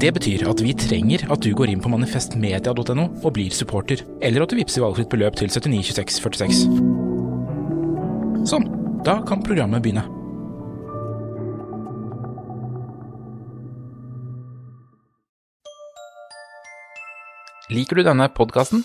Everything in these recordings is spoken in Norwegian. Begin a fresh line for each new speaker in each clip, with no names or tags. Det betyr at vi trenger at du går inn på manifestmedia.no og blir supporter, eller at du vippser valgfritt beløp til 792646. Sånn, da kan programmet begynne. Liker du denne podkasten?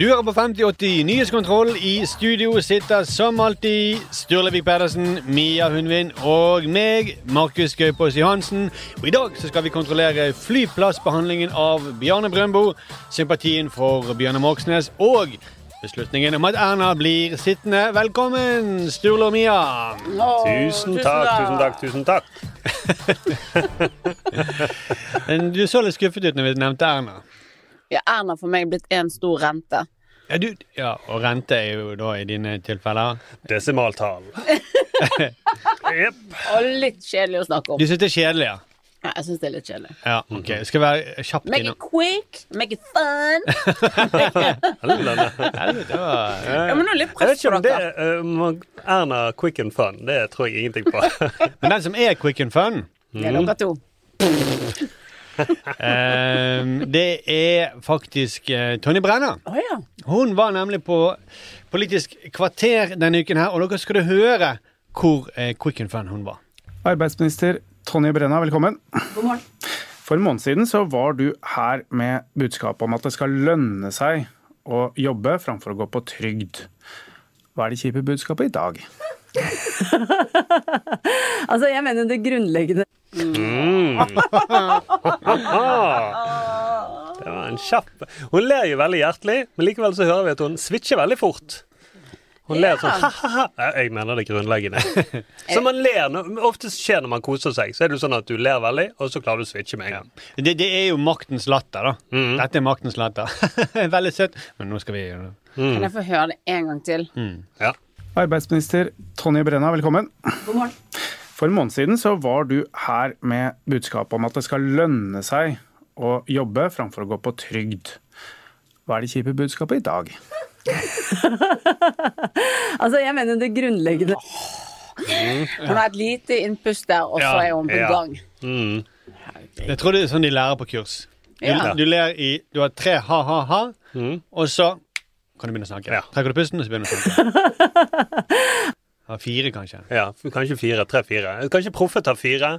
Du hører på 5080 Nyhetskontroll. I studio sitter som alltid Sturlevik Pedersen, Mia Hundvin og meg, Markus Gaupås Johansen. Og I dag så skal vi kontrollere flyplassbehandlingen av Bjarne Brøndbo, sympatien for Bjørnar Moxnes og beslutningen om at Erna blir sittende. Velkommen, Sturle og Mia.
Tusen takk, tusen takk, tusen takk.
Men Du så litt skuffet ut når vi nevnte Erna.
Ja, Erna for meg er blitt en stor rente.
Ja, du, ja, og rente er jo da i dine tilfeller.
Desimaltall. Jepp.
Og litt kjedelig å snakke om.
Du syns det er kjedelig, ja?
Ja, jeg syns det er litt kjedelig.
Ja, ok. Skal være kjapt
Make
innom
it quick, make it fun.
Helvete.
Helvete, hva-
Ja, men nå er det
Jeg
litt
vet
press
ikke
for
om det
dere.
er Erna quick and fun. Det tror jeg ingenting på.
Men den som er quick and fun,
Det er dere to.
ehm, det er faktisk eh, Tonje Brenna.
Å ja.
Hun var nemlig på Politisk kvarter denne uken her, og dere skulle høre hvor eh, quick and fun hun var.
Arbeidsminister Tonje Brenna, velkommen.
God morgen.
For en måned siden så var du her med budskapet om at det skal lønne seg å jobbe framfor å gå på trygd. Hva er det kjipe budskapet i dag?
Altså, jeg mener det grunnleggende.
Det var en kjapp Hun ler jo veldig hjertelig, men likevel så hører vi at hun switcher veldig fort. Hun ler sånn ha-ha-ha. Jeg mener det grunnleggende. Så man ler når- Ofte skjer når man koser seg, så er det jo sånn at du ler veldig, og så klarer du å switche med en gang.
Det, det er jo maktens latter, da. Dette er maktens latter. Veldig søtt. Men nå skal vi
Kan jeg få høre det en gang til?
Mm. Ja.
Arbeidsminister Tonje Brenna, velkommen.
God morgen.
For en måned siden så var du her med budskapet om at det skal lønne seg å jobbe framfor å gå på trygd. Hva er det kjipe budskapet i dag?
Altså, jeg mener det grunnleggende.
Hun har et lite innpust der, og så
Ja,
er hun på
ja.
gang.
Mm.
Jeg tror det er sånn de lærer på kurs. Du,
Ja.
du ler i Du har tre ha-ha-ha,
Mm.
og så kan du begynne å snakke.
Ja.
Trekker du pusten, og så begynner du å snakke. Ja, fire, kanskje.
Ja, kanskje fire, tre-fire. Kanskje proffe tar fire.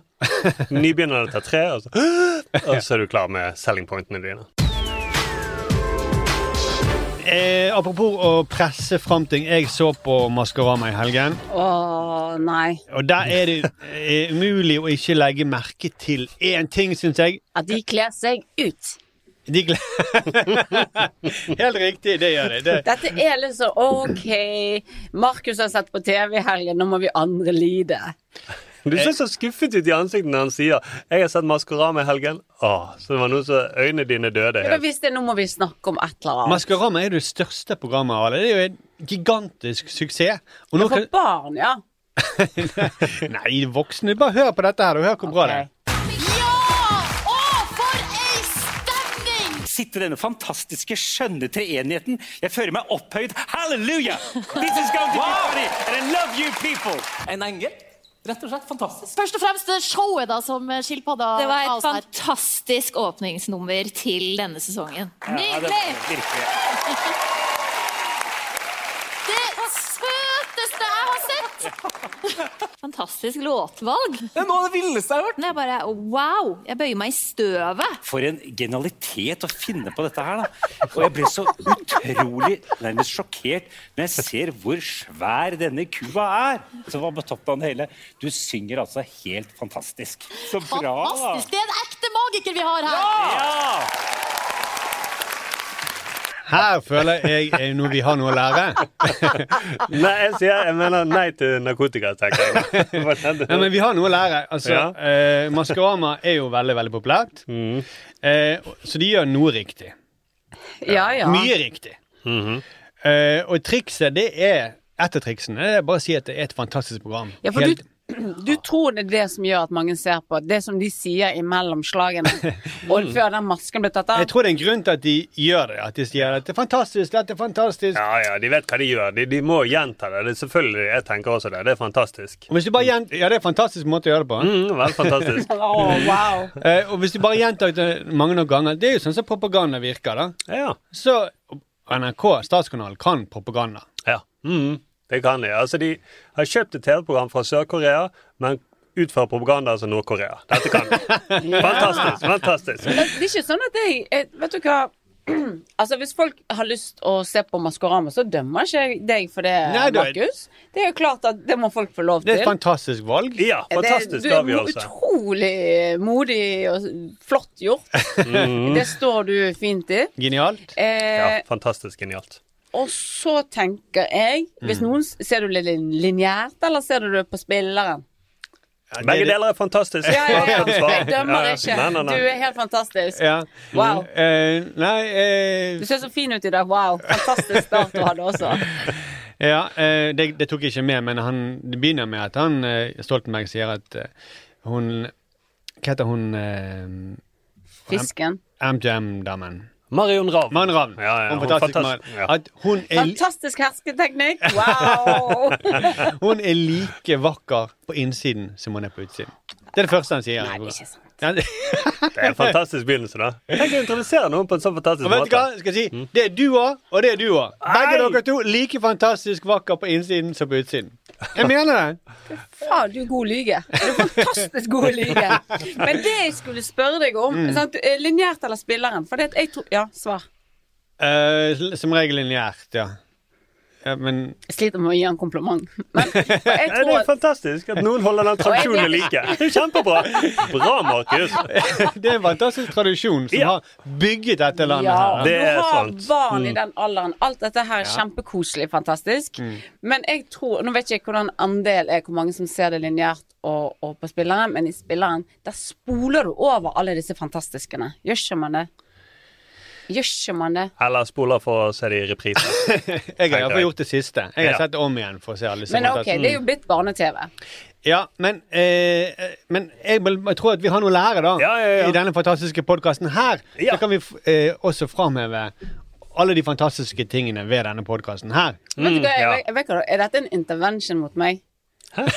Nybegynnerne tar tre, og så, og så er du klar med selling pointene dine.
Eh, apropos å presse fram ting. Jeg så på Maskorama i helgen.
Å nei.
Og der er det eh, umulig å ikke legge merke til én ting, syns jeg.
At de kler seg ut.
De gle Helt riktig, det gjør de. Det.
Dette er litt sånn OK, Markus har sett på TV i helgen, nå må vi andre lide.
Du ser så skuffet ut i ansiktet når han sier 'Jeg har sett Maskorama i helgen'. Åh, så det var noe så øynene dine døde
Jeg bare
helt.
visste, nå må vi snakke om et eller annet.
Maskorama er det største programmet av alle. Det er jo en gigantisk suksess. Og nå
For
kan...
barn, ja.
Nei, voksne, bare hør på dette her. og Hør hvor bra det er.
Ok.
Sitter denne fantastiske, skjønne treenigheten. Jeg føler meg opphøyd. Halleluja! This is going to be party, and I love you people!
En engel?
Rett og slett fantastisk.
Først og fremst det showet da som
eh,
skilpadda
Det
ga
var et
oss her.
fantastisk åpningsnummer til denne sesongen. Nydelig! Det søteste jeg har sett! Fantastisk låtvalg. Det er noe av det villeste jeg har hørt. Jeg bare, wow, jeg bøyer meg i støvet.
For en genialitet å finne på dette her, da. Og jeg ble så utrolig nærmest sjokkert når jeg ser hvor svær denne kua er. Som var på toppen av det hele. Du synger altså helt fantastisk. Så bra, da.
Fantastisk. Det er en ekte magiker vi har her.
Her føler jeg eh, nå vi har noe å lære.
Nei, jeg sier jeg mener nei til narkotika, tenker jeg.
Nei, men vi har noe å lære. Altså,
Ja.
eh, Maskorama er jo veldig, veldig populært. Eh, så de gjør noe riktig.
Ja, ja.
Mye riktig. Eh, og trikset, det er Et av triksene det er bare å si at det er et fantastisk program.
Ja, for
Helt-
Du tror det er det som gjør at mange ser på. Det som de sier imellom slagene. Og før den masken ble tatt av.
Jeg tror det er en grunn til at de gjør det. At de sier at det er fantastisk, dette er fantastisk.
Ja, ja, de vet hva de gjør. De, de må gjenta det. det er selvfølgelig, jeg tenker også det. Det er fantastisk.
Og hvis du bare gjent- ja, det er en fantastisk måte å gjøre det på.
Mm, vel, fantastisk.
wow.
Eh, og hvis du bare gjentar det mange nok ganger Det er jo sånn som propaganda virker, da. Så NRK, statskanalen, kan propaganda.
Ja, mhm, det kan de. Altså, de har kjøpt et TV-program fra Sør-Korea, men utfører propaganda som Nord-Korea. Dette kan de. Fantastisk, fantastisk.
Men Det er ikke sånn at jeg, jeg Vet du hva? Altså Hvis folk har lyst å se på Maskorama, så dømmer ikke jeg deg for det,
Nei, du er-
Markus. Det er jo klart at det må folk få lov
Det
til.
er et fantastisk valg.
Ja,
Det- du er utrolig modig og flott gjort.
Mhm.
Det står du fint i.
Genialt.
Eh,
Ja, fantastisk genialt.
Og så tenker jeg Hvis
Mm.
noen Ser du det lin- lineært, eller ser du det på spilleren?
Begge deler er fantastisk.
Ja, ja, ja.
Takk for det svaret.
Jeg dømmer
Ja, ja.
ikke.
Nei, nei, nei.
Du er helt fantastisk.
Ja.
Wow.
Eh, nei eh,
Du ser så fin ut i dag. Wow. Fantastisk start du hadde også.
Ja, eh, det, det tok jeg ikke med, men han, det begynner med at han eh, Stoltenberg sier at eh, hun Hva heter hun eh,
Fisken.
MGM-damen.
Marion Ravn.
Marion Ravn.
ja,
Hun
hun
fantastisk
fantas-
Marion.
ja.
At hun er,
Fantastisk hersketeknikk. Wow.
hun er like vakker på innsiden som hun er på utsiden. Det er det første han sier. Nei, det er ikke sant.
Det er en fantastisk begynnelse, da. Tenk å introdusere noen på en sånn fantastisk
Og vet du hva?
måte.
Skal jeg si, det er du òg, og det er du òg. Begge dere to like fantastisk vakker på innsiden som på utsiden. Jeg mener det.
Faen, du er god lyge. Du er fantastisk god lyge. Men det jeg skulle spørre deg om
Mm.
sant, eh, Lineært eller spilleren? For det at jeg tror Ja, svar.
Eh, l- som regel lineært, ja. ja men
Jeg sliter med å gi han kompliment.
Nei, det er fantastisk at noen holder den tradisjonen like. Det er Kjempebra! Bra, Markus.
det er en fantastisk tradisjon som har bygget dette landet.
Ja,
her.
du har barn i den alderen. Alt dette her er kjempekoselig, fantastisk.
Mm.
Men jeg tror Nå vet ikke jeg hvordan andel er hvor mange som ser det lineært og, og på spilleren, men i spilleren der spoler du over alle disse fantastiskene. Gjør ikke man det? Gjør ikke man det?
Eller spoler for å se det i reprise.
Jeg har iallfall gjort det siste. Jeg har
Ja.
sett det om igjen for å se alle disse
Men OK,
fantastiske-
det er jo blitt barne-TV.
Ja, men, eh, eh, men jeg, vil- jeg tror at vi har noe å lære, da. I denne fantastiske podkasten her. Så kan vi f- eh, også framheve alle de fantastiske tingene ved denne podkasten her.
Vet du
Mm,
hva, jeg, jeg, vet hva, er dette en intervention mot meg? og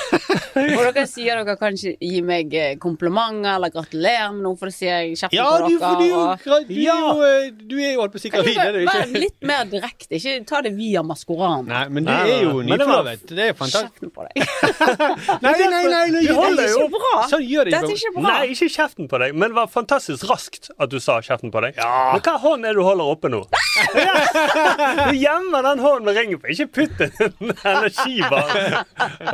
dere sier dere kan ikke gi meg eh, komplimenter eller gratulere med noe, for det sier jeg kjeften
Ja,
på
du,
dere.
for du, er jo
og-
gra- du, er jo, eh, du er jo holdt på å si
Kan
gravid,
ikke
er du
bare være
ikke?
litt mer direkte? Ikke ta det via Maskorama.
Nei, men du
Nei, nei,
er jo
nei. Men det var-
nyforlovet. Det er fantastisk.
Kjeften på deg.
Nei, nei, nei, nei,
Du holder
det er
jo
ikke bra. Sånn gjør det
Dette er ikke bra. Nei, ikke kjeften på deg, men det var fantastisk raskt at du sa kjeften på deg. Men hva hånd er det du holder oppe nå? Du gjemmer den hånden med ringen på. Ikke putt den energibaren.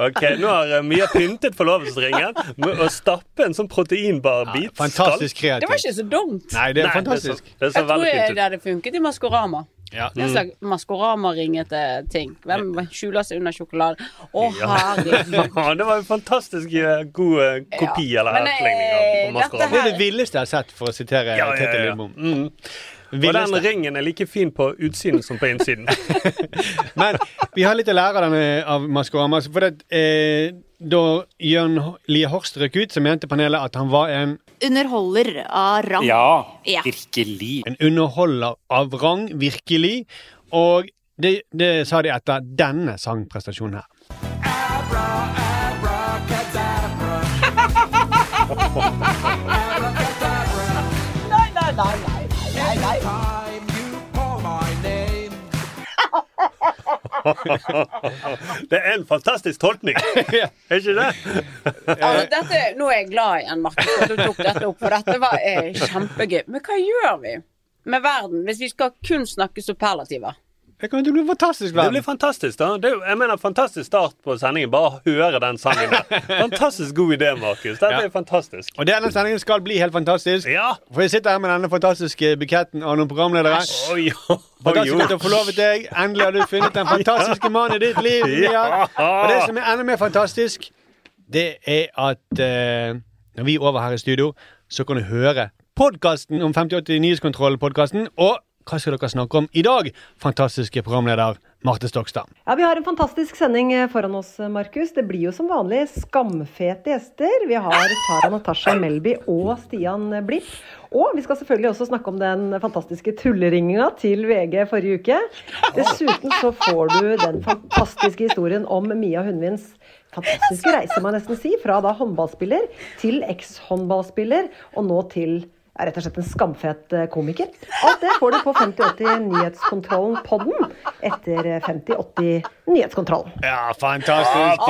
Ok, nå har eh, Mia pyntet forlovelsesringen med å stappe en sånn proteinbarbit.
fantastisk
Skal-
Det var ikke så dumt.
Nei, det er
Det
fantastisk.
så, det så
Jeg tror
veldig
jeg
fint
det hadde funket i Maskorama.
Ja.
Det er en slags Maskorama-ringete ting. Hvem skjuler seg under sjokolade? Å,
ut.
herregud.
Ja, det var en fantastisk eh, god eh, kopi eller
Men, eh,
etterligning av
Det
Maskorama.
er det villeste jeg har sett, for å sitere
Ja, ja, ja.
Tete Lidbom.
Mm. Og
Villeste.
den ringen er like fin på utsiden som på innsiden.
Men vi har litt å lære av denne, av Maskorama. altså, For det, eh, da Jørn H- Lie Horst røk ut, så mente panelet at han var en
Underholder av rang. Ja.
virkelig. En underholder av rang, virkelig. Og det, det sa de etter denne sangprestasjonen her.
Abracadabra.
Nei, nei, nei, nei, nei, nei.
Det er en fantastisk tolkning, er ikke det?
Altså, dette, nå er jeg glad igjen, Markus, for at du tok dette opp, for dette var eh, kjempegøy. Men hva gjør vi med verden hvis vi skal kun snakke superlativer?
Det kan jo bli fantastisk
Det blir fantastisk, da. Det er, jo- jeg mener, fantastisk start på sendingen. Bare høre den sangen der. Fantastisk god idé, Markus. Dette er fantastisk.
Og denne sendingen skal bli helt fantastisk. For jeg sitter her med denne fantastiske buketten av noen programledere.
Oi, oi,
Fantastisk
oi.
at du har forlovet deg. Endelig har du funnet den fantastiske mannen i ditt liv. Mia. Og det som er enda mer fantastisk, det er at eh, når vi er over her i studio, så kan du høre podkasten om 5080 Nyhetskontrollen-podkasten. Og hva skal dere snakke om i dag, fantastiske programleder Marte Stokstad?
Ja, Vi har en fantastisk sending eh, foran oss, Markus. Det blir jo som vanlig skamfete gjester. Vi har Sara Natasha Melby og Stian eh, Blipp. Og vi skal selvfølgelig også snakke om den fantastiske tulleringinga til VG forrige uke. Dessuten så får du den fantastiske historien om Mia Hundvins fantastiske reise, må jeg nesten si. Fra da håndballspiller til ekshåndballspiller, og nå til er rett og slett en skamfet eh, komiker. Alt det får du på 5080 Nyhetskontrollen-podden etter eh, 5080 Nyhetskontrollen.
Ja, fantastisk!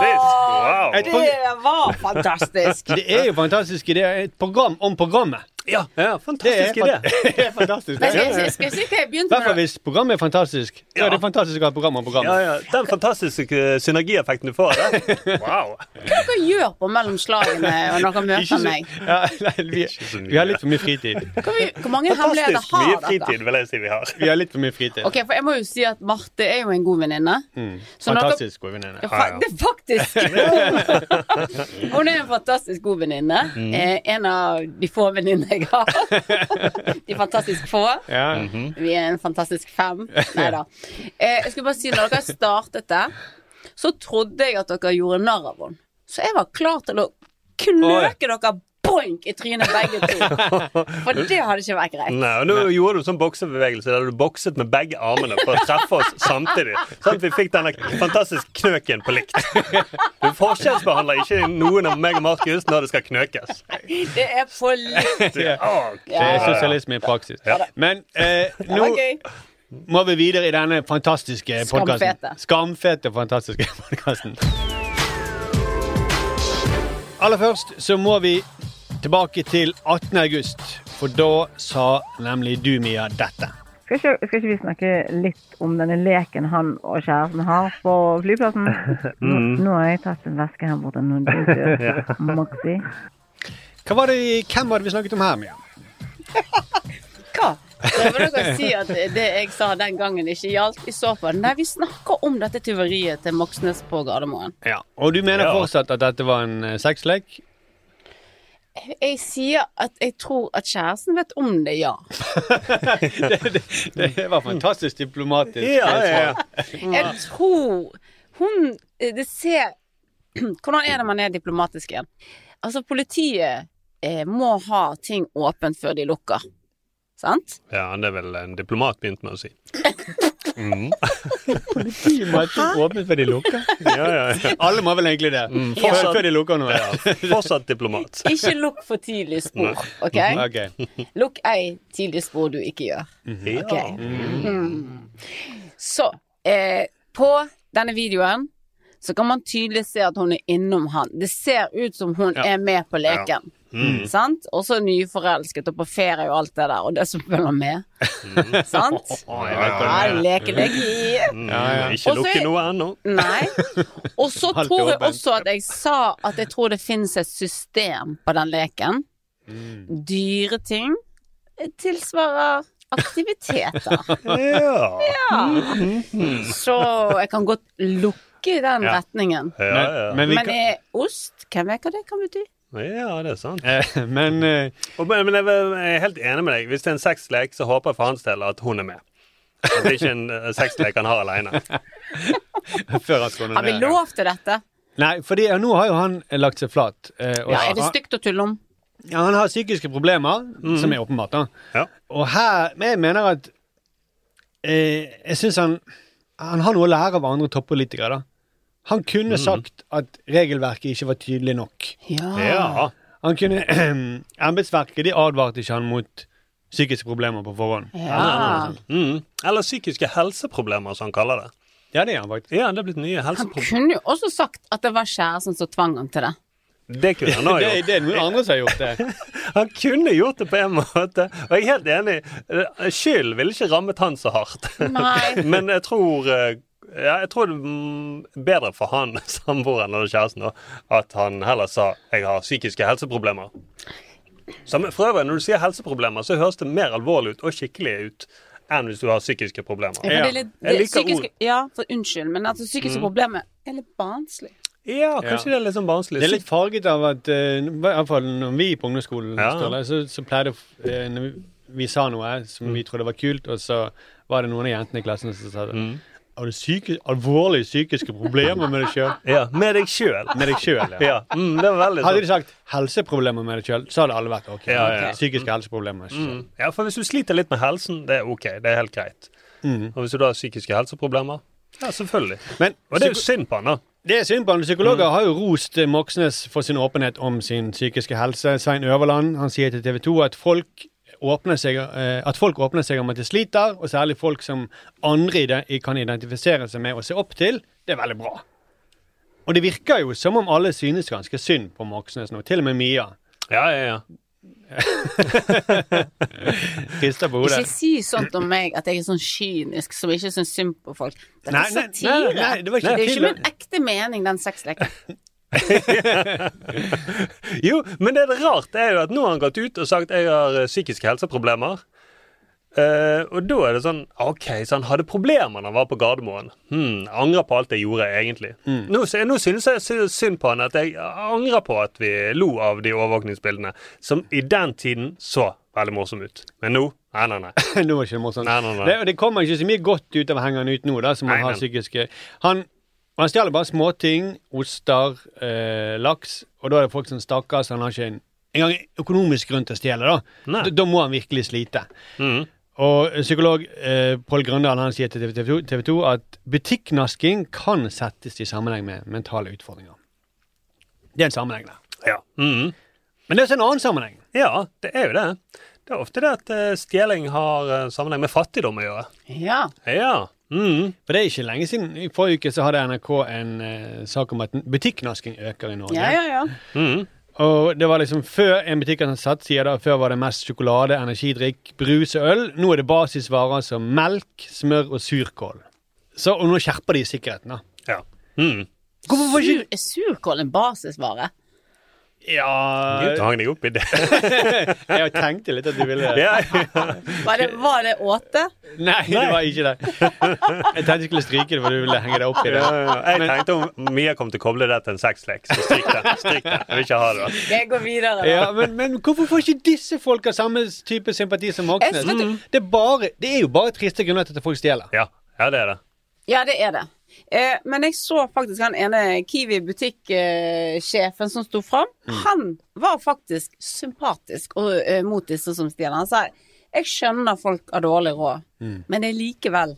Wow.
Et prog-
Det var fantastisk.
Det er jo fantastisk idé. Et program om programmet.
Ja, fantastisk
det er fan-
idé.
det er fantastisk.
Men skal jeg si- skal jeg si hva jeg
I hvert
begynte
fall
med?
hvis programmet er fantastisk. Så er det fantastisk å ha et program om programmet.
Ja, ja. Den fantastiske synergieffekten du får der. Wow.
Hva dere gjør på mellom slagene når dere
Ikke
møter
så-
meg?
Ja, nei, vi, vi har litt for mye fritid.
Hvor, mye- hvor mange hemmeligheter har dere?
vil jeg si vi har. Vi har litt for mye fritid.
Ok, for jeg må jo si at Marte er jo en god venninne.
Mm.
Så når dere-
Fantastisk god venninne.
Ja, fa- Det er faktisk Hun er en fantastisk god venninne.
Mm.
Eh, en av de få venninnene jeg har. De fantastisk få.
Ja.
Vi er en fantastisk fem. Nei da. Eh, jeg skulle bare si, når dere startet det, så trodde jeg at dere gjorde narr av henne. Så jeg var klar til å knøke dere boink i trynet begge to. For det hadde ikke vært greit.
Nei, og Nå gjorde du sånn boksebevegelse der du bokset med begge armene for å treffe oss samtidig. Sånn at vi fikk denne fantastiske knøken på likt. Du forskjellsbehandler ikke noen av meg og Markus når det skal knøkes.
Det er for likt.
Ja.
Det er sosialisme i praksis. Men eh, nå må vi videre i denne fantastiske podkasten.
Skamfete.
Skamfete, fantastiske podkasten. Aller først så må vi tilbake til 18. august, for da sa nemlig du, Mia, dette.
Skal ikke, skal ikke vi snakke litt om denne leken han og kjæresten har på flyplassen? Nå,
Mm.
nå har jeg tatt en veske her borte. Nå er det død.
Ja.
Maxi.
Hva var det, hvem var det vi snakket om her, Mia?
Prøver dere å si at det jeg sa den gangen, ikke gjaldt i så fall? Nei, vi snakker om dette tyveriet til Moxnes på Gardermoen.
Ja. Og du mener
Ja.
fortsatt at dette var en eh, sexlek?
Jeg sier at jeg tror at kjæresten vet om det, ja.
Det var fantastisk diplomatisk.
Ja, ja,
svar.
Mm.
Jeg tror hun eh, Det ser Hvordan er det man er diplomatisk igjen? Altså, politiet eh, må ha ting åpent før de lukker. Sant?
Ja, det er vel en diplomat begynt med å si.
Politiet må ikke åpne før de lukker. Mm. Alle må vel egentlig det.
fortsatt-
Altså-
Før- Før de lukker noe.
Fortsatt diplomat.
Ikke lukk for tidlig spor, OK? Lukk ei tidlig spor du ikke gjør. Ok. Mm. Så eh, på denne videoen så kan man tydelig se at hun er innom han. Det ser ut som hun
Ja.
er med på leken.
Ja. Mm.
Sant? Og så nyforelsket og på ferie og alt det der, og det som følger med.
Mm.
Sant? Ja, leke deg i.
Mm, Ikke
Og så
lukke
er-
noe ennå.
Nei. Og så
Alt er
tror jeg
åpent.
også at jeg sa at jeg tror det finnes et system på den leken.
Mm.
Dyre ting tilsvarer aktiviteter.
Ja.
Ja. Så jeg kan godt lukke i den
Ja.
retningen.
Ja, ja. Men
Men,
vi kan-
eh, ost, hvem vet hva det kan bety?
Ja, det er sant.
men eh,
Og, men men jeg, er- jeg er helt enig med deg. Hvis det er en sexlek, så håper jeg for hans del at hun er med. At det er ikke en eh, sexlek han har alene.
Før at hun
Har vi lov til dette?
Nei, fordi ja, nå har jo han eh, lagt seg flat. eh, og-
Ja, er det stygt å tulle om?
Ja, han har psykiske problemer, som er åpenbart. da. Og her Men jeg mener at eh, Jeg syns han Han har noe å lære av andre Mm. toppolitikere, da. Han kunne sagt at regelverket ikke var tydelig nok.
Ja.
Ja.
Han kunne Embetsverket de advarte ikke han mot psykiske problemer på forhånd.
Eller, mm, eller psykiske helseproblemer, som han kaller det.
Ja, det er han faktisk.
Ja, det er blitt nye helseproblemer.
Kunne jo også sagt at det var kjæresten som tvang han til det.
Det kunne han ha
Det-
gjort.
det er noen andre som har gjort det.
Han kunne gjort det på en måte, og jeg er helt enig. Skyld ville ikke rammet han så hardt.
Nei.
Men jeg tror eh, ja, jeg tror det mm, bedre for han, samboeren eller kjæresten, da, at han heller sa 'jeg har psykiske helseproblemer'. Som, for øvrig, Når du sier helseproblemer, så høres det mer alvorlig ut og skikkelig ut enn hvis du har psykiske problemer.
Ja, for det er litt, det,
Jeg liker
psykiske,
ord.
ja, for unnskyld, men altså, psykiske
Mm.
problemer er litt barnslig.
Ja, kanskje det er litt sånn barnslig.
Det er litt farget av at eh, i hvert fall når vi på ungdomsskolen
Ja.
Sturle, så, så pleide eh, når vi, vi sa noe som
Mm.
vi trodde var kult, og så var det noen av jentene i klassen som sa det.
Mm.
Har du psyki- alvorlige psykiske problemer med deg sjøl?
Ja, med deg sjøl.
Med deg sjøl,
Ja, mm, det var veldig sånn.
Hadde de sagt helseproblemer med deg sjøl, så hadde alle vært OK.
Ja, ja, ja.
Psykiske helseproblemer. ikke sant?
Mm. Ja, for hvis du sliter litt med helsen, det er ok, det er helt greit.
Mm.
Og hvis du da har psykiske helseproblemer, ja, selvfølgelig.
Men-
og det er jo synd på han, da.
Det er synd på han. Psykologer har jo rost eh, Moxnes for sin åpenhet om sin psykiske helse. Svein Øverland han sier til TV 2 at folk åpner seg, eh, at folk åpner seg om at de sliter, og særlig folk som andre i det i- kan identifisere seg med og se opp til. Det er veldig bra. Og det virker jo som om alle synes ganske synd på Moxnes nå, til og med Mia.
Ja, ja,
ja. Rister på hodet.
Ikke si sånt om meg at jeg er sånn kynisk som ikke syns synd på folk. Det er
Nei, nei,
satire.
nei, nei, det var ikke
er jo ikke
satire.
min ekte mening, den sexleken.
Jo, men det er rart er jo at nå har han gått ut og sagt jeg har eh, psykiske helseproblemer. Eh, og da er det sånn OK, så han hadde problemer da han var på Gardermoen. Hmm, angrer på alt jeg gjorde, egentlig. Nå, sy- nå synes jeg sy- synd på han at jeg angrer på at vi lo av de overvåkningsbildene, som i den tiden så veldig morsomme ut. Men nå Nei, nei, nei.
nå var ikke det morsomt.
Nei, nei, nei.
Det, og det kommer ikke så mye godt ut av å henge han ut nå, da, som han
Nei,
har
men-
psykiske Han, han stjeler bare småting. Oster, eh, laks. Og da er det folk som stakkars, han har ikke en, engang økonomisk grunn til å stjele, da. da. Da må han virkelig slite.
Mhm.
Og psykolog eh, Pål Grøndal han sier til TV 2, TV 2 at butikknasking kan settes i sammenheng med mentale utfordringer. Det er en sammenheng der.
Ja. Mhm.
Men det er også en annen sammenheng.
Ja, det er jo det. Det er ofte det at eh, stjeling har eh, sammenheng med fattigdom å gjøre.
Ja.
Ja. mm,
For det er ikke lenge siden. I forrige uke så hadde NRK en eh, sak om at butikknasking øker i Norge.
Ja, ja, ja.
Og det var liksom før en butikk som satt sier da, før var det mest sjokolade, energidrikk, brus og øl. Nå er det basisvarer som melk, smør og surkål. Så, og nå skjerper de sikkerheten, da.
Ja. mm.
Sur, er surkål en basisvare?
Du hang deg opp i det.
Jeg tenkte litt at du ville
Ja,
Var det, var det åte?
Nei, det var ikke det. Jeg tenkte jeg skulle stryke det, for du ville henge deg opp i det.
Ja, ja, ja. Jeg tenkte om Mia kom til å koble det til en sexlek, så stryk det. Stryk det. Jeg vil ikke ha det.
Jeg går videre.
Ja, men, men hvorfor får ikke disse folka samme type sympati som Moxnes?
Jeg vet ikke.
Det, er bare, det er jo bare triste grunner til at folk stjeler.
Ja, ja det er det.
Ja, det er det. Eh, men jeg så faktisk han ene Kiwi-butikksjefen som sto fram. Han var faktisk sympatisk og, eh, mot disse som stjeler. Han sa jeg skjønner folk har dårlig råd,
Mm.
men det er likevel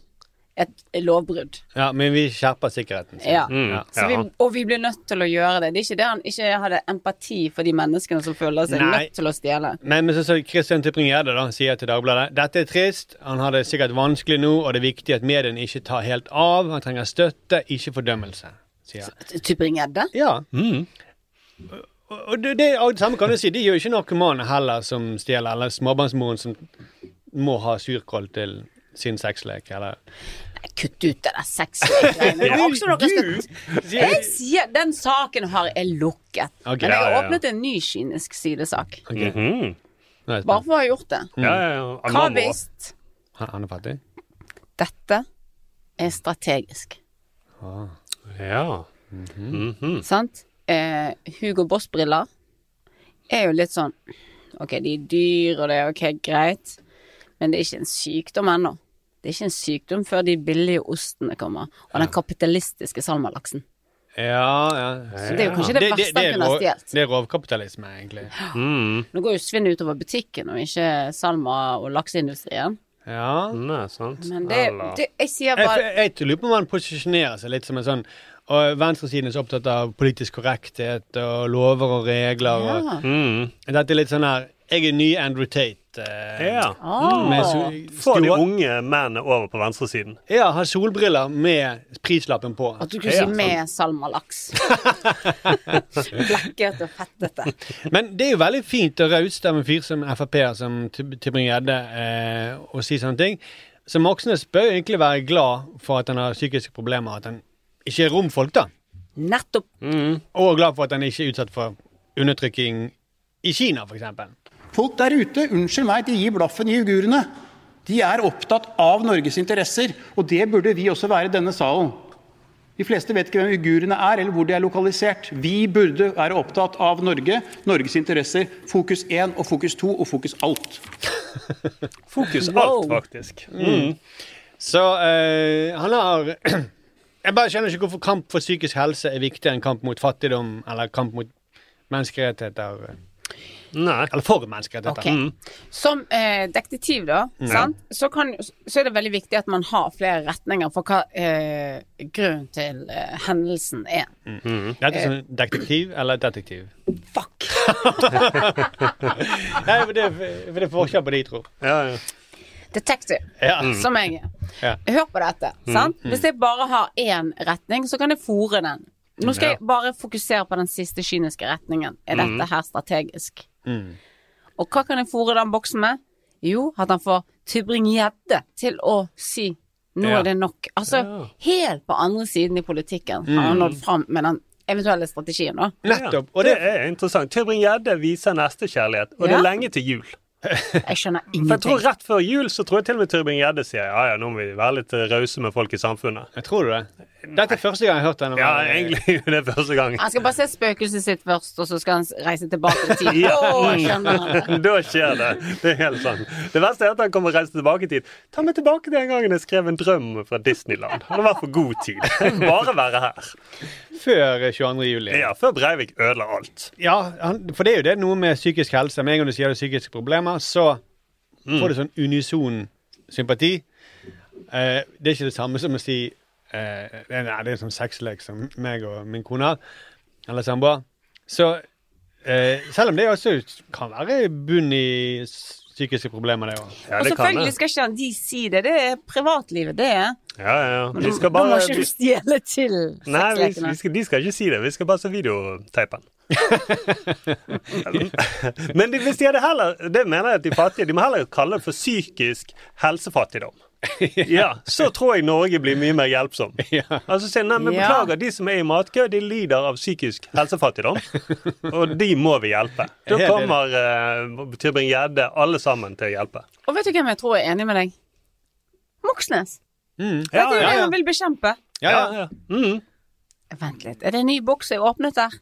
et lovbrudd.
Ja, men vi skjerper sikkerheten. sier
Ja.
han. Mm. Ja.
Så vi, og vi blir nødt til å gjøre det. Det er ikke det han ikke hadde empati for de menneskene som føler seg
Nei.
nødt til å stjele.
Men, men så, så Christian Tybring-Gjedde da, sier til Dagbladet dette er trist, han har det sikkert vanskelig nå, og det er viktig at mediene ikke tar helt av. Han trenger støtte, ikke fordømmelse. sier han.
Tybring-Gjedde?
Ja. Og, og det, det og det samme kan du si, de er jo ikke narkomane heller som stjeler, eller småbarnsmoren som må ha surkål til sin sexlek, eller
Kutt ut det der sexlekgreiene.
Ja.
Det er også noe jeg skal-
sier-
Jeg sier den saken har jeg lukket.
Ok.
Men jeg
Ja, ja,
har
ja.
åpnet en ny kynisk sidesak.
Ok. Nå er jeg spent.
Bare for å ha gjort det.
Mm.
Ja, ja, ja. Han
Hva
må.
hvis
Han, han er fattig?
dette er strategisk?
Ah.
Ja.
Mm.
Sant? Eh, Hugo Boss-briller er jo litt sånn Ok, de er dyr, og det er ok, greit, men det er ikke en sykdom ennå. Det er ikke en sykdom før de billige ostene kommer, og den kapitalistiske salmalaksen.
Ja, ja.
Så det er jo kanskje det verste han
er
kunne ha
rov-
stjålet.
Det er rovkapitalisme, egentlig.
Nå går jo svinnet utover butikken og ikke salma- og lakseindustrien.
Ja.
Nei, sant.
Mm.
Men det, det Jeg sier
Jeg,
bare
jeg, jeg lurer på om han posisjonerer seg litt som en sånn Og venstresiden er så opptatt av politisk korrekthet og lover og regler. Og,
Ja. Mm.
Dette er litt sånn her Jeg er ny Andrew Tate. eh,
Ja.
Mm. Med so-
Få de
stor-
unge mennene over på venstresiden.
Ja, har solbriller med prislappen på.
At du kunne si med salmalaks. Blekket og fettete.
Men det er jo veldig fint og raust av en fyr som Frp-er som Tybring-Gjedde eh, å si sånne ting. Så Moxnes bør jo egentlig være glad for at han har psykiske problemer, at han ikke er romfolk, da.
Nettopp.
Og glad for at han ikke er utsatt for undertrykking i Kina, f.eks.
Folk der ute, unnskyld meg, de gir blaffen i uigurene. De er opptatt av Norges interesser, og det burde vi også være i denne salen. De fleste vet ikke hvem uigurene er, eller hvor de er lokalisert. Vi burde være opptatt av Norge, Norges interesser, fokus én og fokus to og fokus alt.
Fokus alt, faktisk. Mm.
Mm. Så eh, han har Jeg bare skjønner ikke hvorfor kamp for psykisk helse er viktigere enn kamp mot fattigdom eller kamp mot menneskerettigheter. Eller for menneskerettigheter.
Ok. Som eh, detektiv, da,
Ja.
sant? Så, kan, så er det veldig viktig at man har flere retninger for hva eh, grunnen til eh, hendelsen er.
Dette er sånn detektiv eller detektiv? Fuck! Nei, for det, for det er forskjell på de, tror
ja,
Detective,
Ja.
som jeg er.
Ja.
Hør på dette.
Mm,
sant?
mm.
Hvis jeg bare har én retning, så kan jeg fòre den. Nå
Ja.
skal jeg bare fokusere på den siste kyniske retningen. Er
Mm.
dette her strategisk?
Mm.
Og hva kan jeg fòre den boksen med? Jo, at han får Tybring-Gjedde til å si nå
Ja.
er det nok. Altså, helt på andre siden i politikken
Mm.
har han nådd fram med den eventuelle strategien, da.
Nettopp. Og det er interessant. Tybring-Gjedde viser nestekjærlighet, og det
Ja.
er lenge til jul.
Jeg skjønner
For jeg tror
ingenting.
Rett før jul så tror jeg til og med Tybring-Gjedde sier ja, ja, nå må vi være litt eh, rause med folk i samfunnet.
Jeg tror du det? Dette er første gang jeg har hørt denne.
Ja, egentlig er det første gang.
Han skal bare se spøkelset sitt først, og så skal han reise tilbake i tid.
Ja.
Å, jeg skjønner han.
da skjer det. Det er helt sant. Det verste er at han kommer reise tilbake i tid. Ta meg tilbake til den gangen jeg skrev en drøm fra Disneyland. Han var for god tid. Jeg vil Bare være her.
Før 22. juli.
Ja, før Breivik ødela alt.
Ja, han, for det er jo det noe med psykisk helse. Med en gang du sier du har psykiske problemer, så
Mm.
får du sånn unison sympati. Eh, det er ikke det samme som å si eh, det er- Nei, det er sånn sexlek som meg og min kone har, eller samboer. Så eh, selv om det også kan være bunn i s- psykiske problemer, det òg.
og selvfølgelig skal ikke han de si det. Det er privatlivet, det er.
Ja, ja, ja. Vi skal
Da må
bare
ikke du stjele til
Nei, vi,
sexlekene.
vi skal, de skal ikke si det. Vi skal bare se videoteipen. Men de, hvis de hadde heller Det mener jeg at de fattige De må heller kalle det for psykisk helsefattigdom. Ja, Så tror jeg Norge blir mye mer hjelpsom. Altså si, nei, men
Ja.
Beklager, de som er i matkø, de lider av psykisk helsefattigdom. Og de må vi hjelpe. Da
Helt enig.
kommer uh, Tybring-Gjedde alle sammen til å hjelpe.
Og vet du hvem jeg tror er enig med deg? Moxnes. Dette
Ja,
er
ja,
jo det
ja.
han vil bekjempe.
Ja, ja. Mm.
Vent litt, er det en ny boks jeg åpnet der?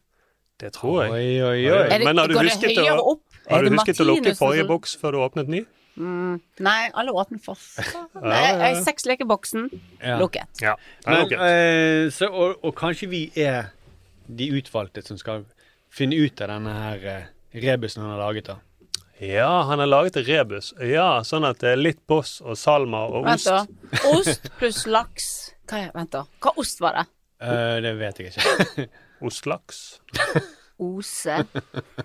Det tror jeg.
Oi, oi,
oi. Er det-
Men har du
går det
husket,
høyere
å,
opp? Er
har du
det
husket å lukke
Martinus som-
forrige boks før du åpnet ny?
Mm. Nei, alle åpnet for Nei,
ja, ja.
jeg sexlekeboksen lukket.
Ja, den er
Men,
lukket.
eh, så, og, og kanskje vi er de utvalgte som skal finne ut av denne her eh, rebusen han har laget. da.
Ja, han har laget rebus. Ja, sånn at det er litt boss og salma og
Vent,
ost.
da. Ost pluss laks. Hva, er- vent da. Hva ost var det?
Eh, det vet jeg ikke.
Ostlaks?
Ose.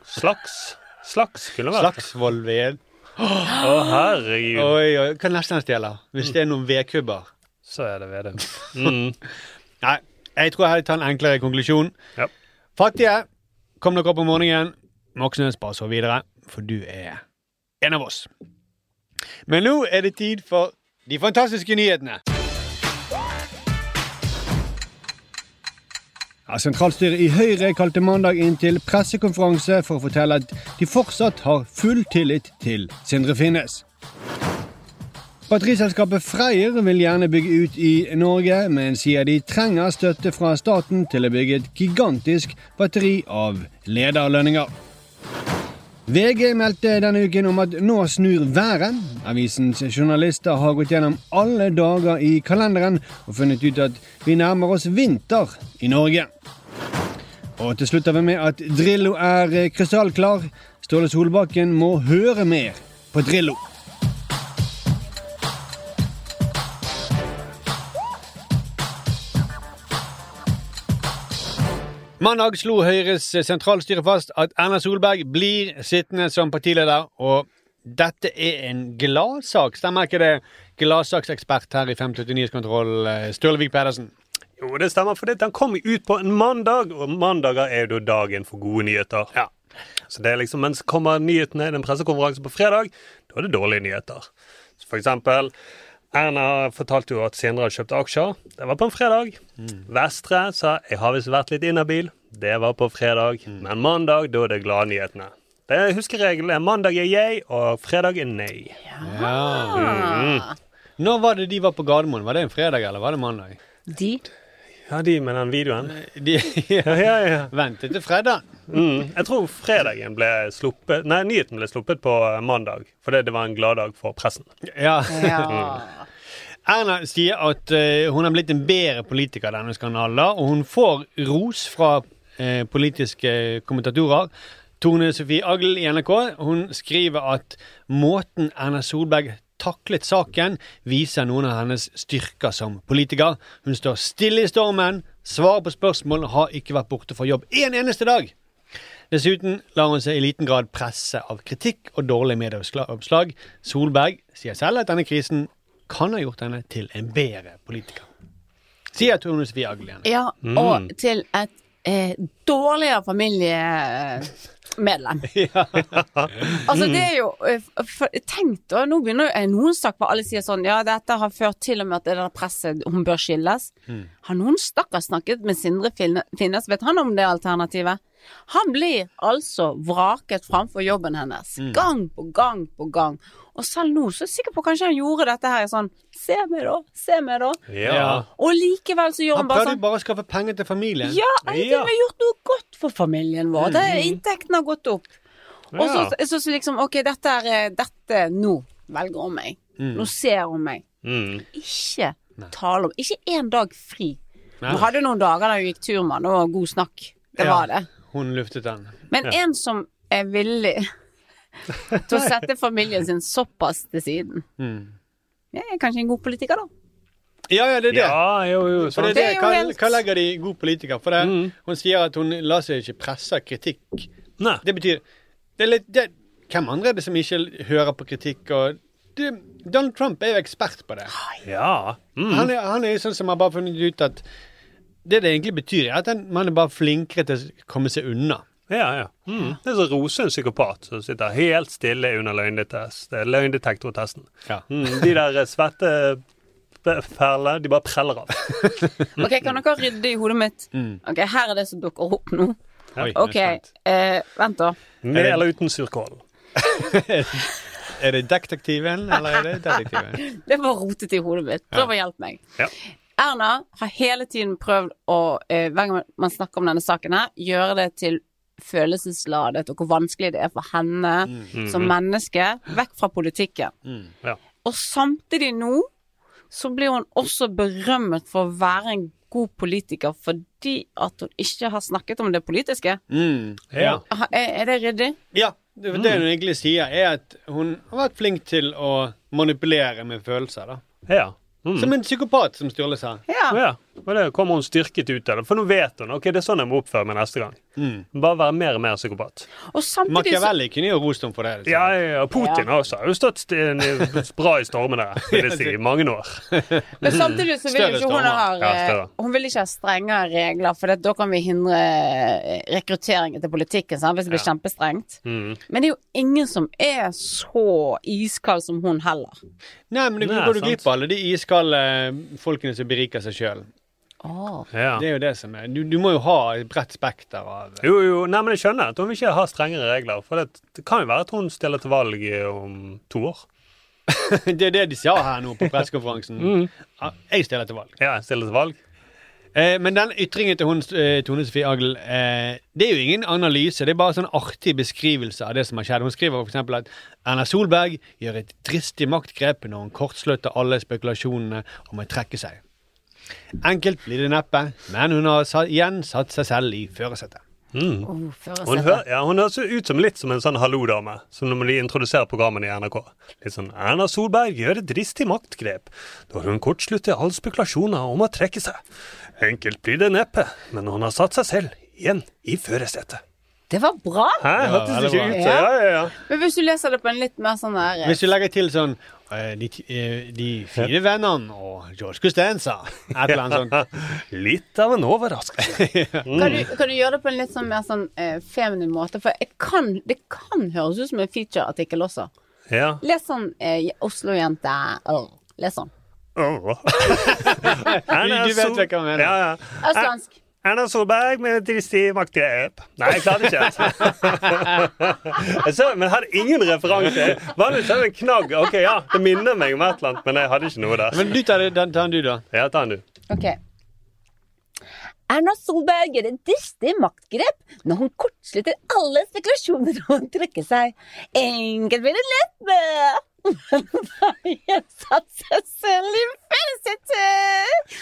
Slaks? Slaks kunne vært.
Slagsvollved.
Å, herregud.
Oi, oi. Hva nesten stjele? Hvis det er noen vedkubber.
Så er det ved det. Mm.
Nei, jeg tror jeg tar en enklere konklusjon. Fattige, kom dere opp om morgenen. Moxnes, bare sov videre, for du er en av oss. Men nå er det tid for de fantastiske nyhetene.
Ja, sentralstyret i Høyre kalte mandag inn til pressekonferanse for å fortelle at de fortsatt har full tillit til Sindre Finnes. Batteriselskapet Freyr vil gjerne bygge ut i Norge, men sier de trenger støtte fra staten til å bygge et gigantisk batteri av lederlønninger. VG meldte denne uken om at nå snur været. Avisens journalister har gått gjennom alle dager i kalenderen og funnet ut at vi nærmer oss vinter i Norge. Og til slutt er vi med at Drillo er krystallklar. Ståle Solbakken må høre mer på Drillo.
Mandag slo Høyres sentralstyre fast at Erna Solberg blir sittende som partileder, og dette er en gladsak. Stemmer ikke det, gladsaksekspert her i 539s kontroll, Sturle Vik Pedersen?
Jo, det stemmer, for det, den kom jo ut på en mandag, og mandager er jo da dagen for gode nyheter. Så det er liksom, Mens kommer nyhetene i en pressekonferanse på fredag, da er det dårlige nyheter. Så for eksempel, Erna fortalte jo at senere hadde kjøpt aksjer. Det var på en fredag. Vestre sa 'jeg har visst vært litt inhabil'. Det var på fredag. Men mandag, da er det gladnyhetene. Det er huskeregelen er mandag er jeg, og fredag er nei.
Ja. Når var det de var på Gardermoen? Var det en fredag, eller var det mandag?
De?
Ja, de med den videoen.
ja,
ja, ja.
Ventet til fredag.
Mm. Jeg tror fredagen ble sluppet Nei, nyheten ble sluppet på mandag, fordi det var en gladdag for pressen.
Ja. Mm.
Ja.
Erna sier at eh, hun har blitt en bedre politiker denne skandalen, og hun får ros fra eh, politiske kommentatorer. Tone Sofie Agl i NRK hun skriver at måten Erna Solberg taklet saken, viser noen av hennes styrker som politiker. Hun står stille i stormen, svarer på spørsmål, har ikke vært borte fra jobb en eneste dag. Dessuten lar hun seg i liten grad presse av kritikk og dårlige medieoppslag. Solberg sier selv at denne krisen kan ha gjort henne til en bedre politiker. Sier Tone Sofie Aglen.
Ja,
Mm.
og til et eh, dårligere familiemedlem. Altså,
Mm.
det er jo eh, for, Tenk da, nå begynner jo eh, Noen snakker alle sier sånn Ja, dette har ført til og med at det der presset Hun bør skilles.
Mm.
Har noen stakkar snakket med Sindre Finne- Finnes? Vet han om det alternativet? Han blir altså vraket framfor jobben hennes.
Mm.
Gang på gang på gang. Og selv nå så er jeg sikker på kanskje han gjorde dette her i sånn Se meg, da. Se meg, da.
Ja.
Og likevel så gjør
Han
han bare
prøvde
sånn.
bare å skaffe penger til familien.
Ja, jeg har til og med gjort noe godt for familien vår. Det,
Mhm.
inntekten har gått opp. Og så,
Ja.
så, så liksom OK, dette er dette Nå velger hun meg.
Mm.
Mhm.
Nå ser hun meg.
Mm.
Ikke tale om Ikke én dag fri.
Nei.
Hun hadde noen dager der hun gikk tur med han, det var god snakk. Det
Ja,
var det.
Hun luftet den.
Men en som er villig til å sette familien sin såpass til siden,
Mm.
det er kanskje en god politiker, da.
Ja, ja, det er det.
Ja, jo, jo,
For det
sant. Mm.
er det.
Det er jo
Hva,
helt-
hva legger de i god politiker? For det, Hun sier at hun lar seg ikke presse av kritikk. Det betyr det er litt, det, Hvem andre er det som ikke hører på kritikk? Og, det, Donald Trump er jo ekspert på det.
Ja. Mm.
Han, er, han er jo sånn som har bare funnet ut at det det egentlig betyr, er at han- man er bare flinkere til å komme seg unna.
Ja, ja. Mm. Det er så rose en psykopat som sitter helt stille under løgndetes- eh, løgndetektortesten. Mm. De der eh, svette eh, perlene, de bare preller av.
Ok,
Mm.
Kan dere rydde i hodet mitt?
Mm.
Ok, Her er det som dukker opp nå.
Oi,
ok, eh, vent, da.
Med eller uten surkål.
Er det detektiven, eller er det detektiven?
Det var rotet i hodet mitt. Prøv å hjelpe meg.
Ja.
Erna har hele tiden prøvd å, eh, hver gang man snakker om denne saken her, gjøre det til følelsesladet og hvor vanskelig det er for henne
Mm.
Mm-hmm.
som menneske, vekk fra politikken. Og samtidig nå så blir hun også berømmet for å være en god politiker fordi at hun ikke har snakket om det politiske.
Mm. Ja. Mm.
Ha- Er, er det ryddig?
Ja, det, det hun egentlig sier, er at hun har vært flink til å manipulere med følelser. da.
Ja. Mm.
Som en psykopat, som Sturle sa.
Ja.
Og det kommer hun styrket ut av det. For nå vet hun ok, det er sånn jeg må oppføre meg neste gang.
Mm.
Bare være mer og mer psykopat.
Og samtidig så-
Machiavelli kunne jo rost ham for det. liksom.
Ja, ja, ja. Putin
Ja.
også har jo stått st- en- bra i stormene vil jeg si, i mange år.
Men samtidig så
Mm. Større
vil jo ikke hun
stormer.
ha
Ja,
eh,
større.
Hun vil ikke ha strengere regler, for det, da kan vi hindre eh, rekrutteringen til politikken sant? hvis det blir
Ja.
kjempestrengt.
Mm.
Men det er jo ingen som er så iskald som hun heller.
Nei, men du
Nei,
går du
sant.
glipp av alle de iskalde folkene som beriker seg sjøl.
oh,
Det er jo det som er. Du, du må jo ha et bredt spekter av
Jo, jo, nei, men jeg skjønner at hun vil ikke ha strengere regler. For det, det kan jo være at hun stiller til valg i- om to år.
Det er det de sa her nå på pressekonferansen.
Mm.
Ja, Jeg stiller til valg.
Ja, jeg stiller til valg.
Eh, men den ytringen til hun, eh, Tone Sofie Agl, eh, det er jo ingen analyse. Det er bare sånn artig beskrivelse av det som har skjedd. Hun skriver f.eks. at Erna Solberg gjør et dristig maktgrep når hun kortslutter alle spekulasjonene om å trekke seg. Enkelt blir det neppe, men hun har sa igjen satt seg selv i førersetet.
Mm. Hun, hø
førersetet.
ja, hun høres jo ut som litt som en sånn hallo-dame, som når de introduserer programmene i NRK. Litt sånn 'Erna Solberg gjør et dristig maktgrep', da hun kortslutter alle spekulasjoner om å trekke seg. Enkelt blir det neppe, men hun har satt seg selv igjen i førersetet.
Det var bra.
Hæ? Hørtes ikke ut sånn? Ja, ja, ja.
Men hvis du leser det på en litt mer sånn der
Hvis du legger til sånn eh, de, ti- eh, de fire vennene og George Costanza. Et eller annet sånt.
Litt av en overraskelse.
Kan du,
Mm.
kan du gjøre det på en litt sånn mer sånn eh, feminin måte? For jeg kan, det kan høres ut som en feature-artikkel også.
Ja.
Les sånn eh, Oslo-jente. Åh, Les sånn.
du, vet hva jeg mener. Ja, ja.
Østlandsk.
Erna Solberg med dristig maktgrep. Nei, jeg klarer det ikke. Jeg så, men jeg hadde ingen referanse. Vanligvis er det en knagg. Ok, ja, Det minner meg om et eller annet, men jeg hadde ikke noe der.
Men du tar den, du, da.
Ja, ta den du.
Ok. Erna Solberg gjør et dristig maktgrep når hun kortslutter alle spekulasjoner og trekker seg. Enkelt blir det lett med! Jeg satte seg selv i fellessetet!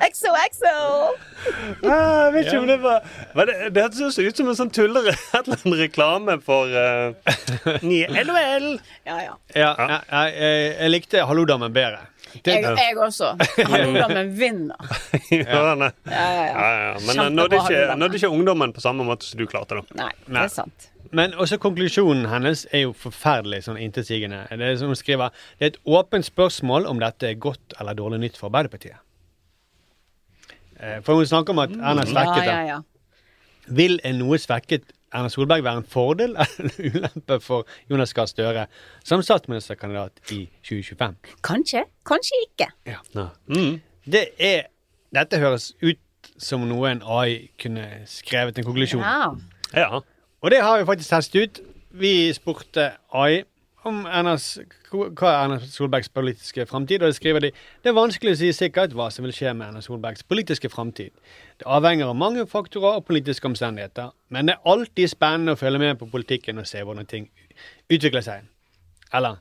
XOXO!
Ah, jeg vet ikke om det var Hva Det, det hørtes ut som en sånn tullere Et eller annet reklame for uh, LOL.
Ja, ja.
Ja, jeg, jeg, jeg, jeg likte Hallo-damen bedre.
Jeg, jeg også. Ungdommen vinner.
Ja, nei.
Ja, ja, ja.
Ja, ja. Men eh, nådde ikke, nådde ikke ungdommen på samme måte som du klarte, da.
Nei, det er sant.
Men også konklusjonen hennes er jo forferdelig sånn intetsigende. Det er som hun skriver Det er et åpent spørsmål om dette er godt eller dårlig nytt for Arbeiderpartiet. Eh, For hun snakker om at Erna er svekket.
Mm.
da.
Ja, ja, ja.
Vil en noe svekket Erna Solberg være en fordel eller en ulempe for Jonas Gahr Støre som statsministerkandidat i 2025?
Kanskje, kanskje ikke.
Det er, dette høres ut som noe en AI kunne skrevet en konklusjon.
Ja.
Og det har vi faktisk testet ut. Vi spurte AI om Ernas, hva er Erna Solbergs politiske framtid, og det skriver de det er vanskelig å si sikkert hva som vil skje med Erna Solbergs politiske framtid. Det avhenger av mange faktorer og politiske omstendigheter, men det er alltid spennende å følge med på politikken og se hvordan ting utvikler seg. Eller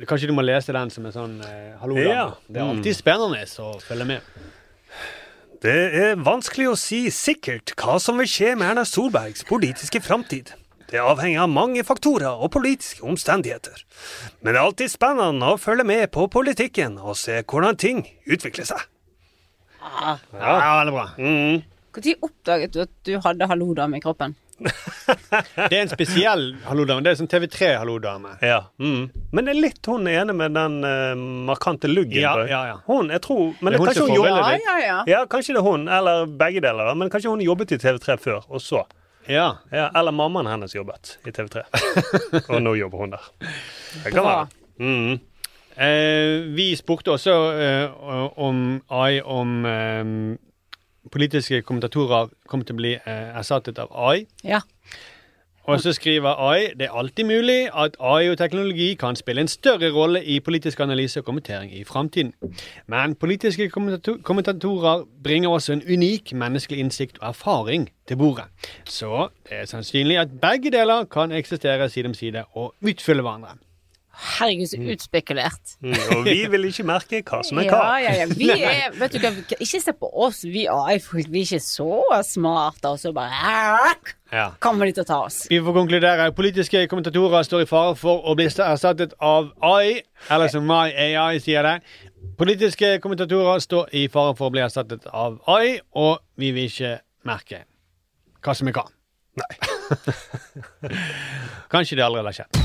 eh, Kanskje du må lese den som en sånn eh, hallo, dame.
Ja.
Det er alltid spennende å følge med.
Det er vanskelig å si sikkert hva som vil skje med Erna Solbergs politiske framtid. Det avhenger av mange faktorer og politiske omstendigheter. Men det er alltid spennende å følge med på politikken og se hvordan ting utvikler seg.
Ah.
Ja, veldig bra.
Når oppdaget du at du hadde hallo-dame i kroppen?
Det er en spesiell hallo-dame. Det er sånn TV3-hallo-dame.
Ja. Mm. Men det er litt hun ene med den eh, markante luggen.
Ja,
på-
ja, ja.
Hun, jeg tror men
Det er hun
kanskje
som
hun
forbilder
jobber-
deg. Ja, ja,
ja, kanskje det er hun, eller begge deler. da. Men kanskje hun jobbet i TV3 før, og så.
Ja.
eller mammaen hennes jobbet i TV3. og nå jobber hun der. Det kan
Bra.
være. Mm.
Eh, vi spurte også eh, om AI om eh, politiske kommentatorer kommer til å bli eh, erstattet av AI.
Ja.
Og så skriver AI det er alltid mulig at AI og teknologi kan spille en større rolle i politisk analyse og kommentering i framtiden. Men politiske kommentato- kommentatorer bringer også en unik menneskelig innsikt og erfaring til bordet. Så det er sannsynlig at begge deler kan eksistere side om side og utfylle hverandre.
Herregud,
Mm.
så utspekulert.
Mm, Og vi vil ikke merke hva som er hva.
Ja, ja, ja. Vi er, vet du hva, vi kan- ikke se på oss, vi AI-folk. Vi er ikke så smarte, og så bare "Æk!"
Ja.
kommer de til å ta oss.
Vi får konkludere. Politiske kommentatorer står i fare for å bli erstattet av AI, eller som My AI sier det. Politiske kommentatorer står i fare for å bli erstattet av AI, og vi vil ikke merke hva som er hva. Nei. Kanskje det allerede har skjedd.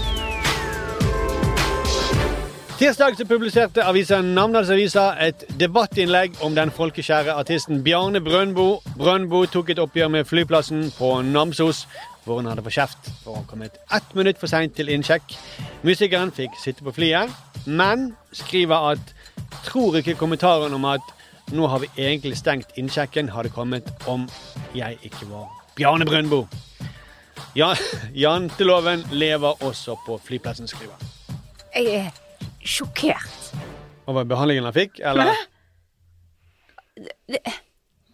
Tirsdag så publiserte avisa Namdalsavisa et debattinnlegg om den folkekjære artisten Bjarne Brøndbo. Brøndbo tok et oppgjør med flyplassen på Namsos, hvor hun hadde fått kjeft for å komme et ett minutt for seint til innsjekk. Musikeren fikk sitte på flyet, men skriver at tror ikke kommentaren om at nå har vi egentlig stengt innsjekken, hadde kommet om jeg ikke var Bjarne Brøndbo. Ja, janteloven lever også på flyplassen, skriver han.
Jeg er sjokkert.
Over behandlingen han fikk, eller?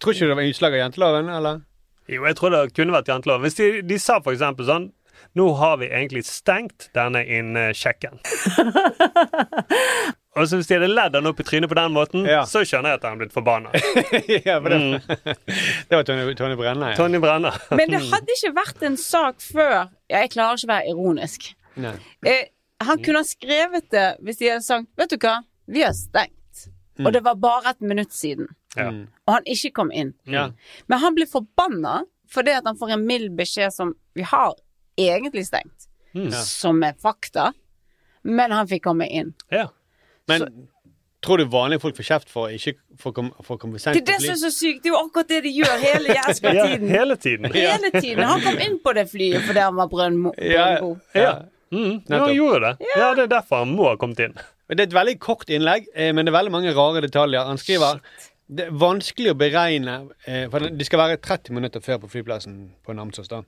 Tror ikke det var utslag av janteloven, eller?
Jo, jeg tror det kunne vært jantelov. Hvis de, de sa for eksempel sånn Nå har vi egentlig stengt denne innsjekken. Og så hvis de hadde ledd han opp i trynet på den måten, så skjønner jeg at han er blitt forbanna.
ja, for det,
Mm.
det var Tonje, Tonje Brenna. Ja.
Tonje Brenna.
Men det hadde ikke vært en sak før. Ja, Jeg klarer ikke å være ironisk.
Nei.
Eh, han kunne ha skrevet det hvis de hadde sagt Vet du hva, vi har stengt.
Mm.
Og det var bare et minutt siden.
Ja.
Og han ikke kom inn.
Ja.
Men han blir forbanna fordi at han får en mild beskjed som vi har egentlig stengt,
Mm. Ja.
som er fakta, men han fikk komme inn.
Ja. Men tror du vanlige folk får kjeft for å ikke for å komme- for å komme sent
Det er
på
det som
fly?
er så sykt, det er jo akkurat det de gjør hele jæskla tiden.
hele tiden.
Hele tiden. Han kom inn på det flyet fordi han var brønnmo.
Ja. ja. Mm, ja, han gjorde det. Ja, det er derfor han må ha kommet inn.
Men Det er et veldig kort innlegg, eh, men det er veldig mange rare detaljer. Han skriver det er vanskelig å beregne eh, For det det skal være 30 minutter før på flyplassen på Namsos. da.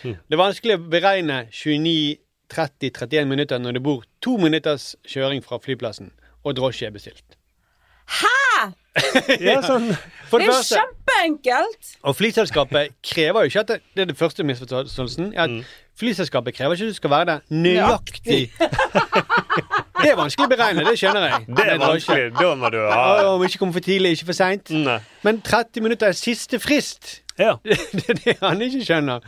Mm.
Det er vanskelig å beregne 29-30-31 minutter når det bor to minutters kjøring fra flyplassen, og drosje er bestilt.
Hæ?!
Ja, sånn. For
Det
det
er jo
første-
kjempeenkelt!
Og flyselskapet krever jo ikke at det, det er det første misforståelsen. er At
Mm.
Flyselskapet krever ikke at du skal være der nøyaktig. det er vanskelig å beregne, det skjønner jeg.
Det
drar
er
ikke.
vanskelig. Mm. Da må du ha
Å, Om ikke kommer for tidlig, ikke for seint. Men 30 minutter er siste frist. det er det han ikke skjønner.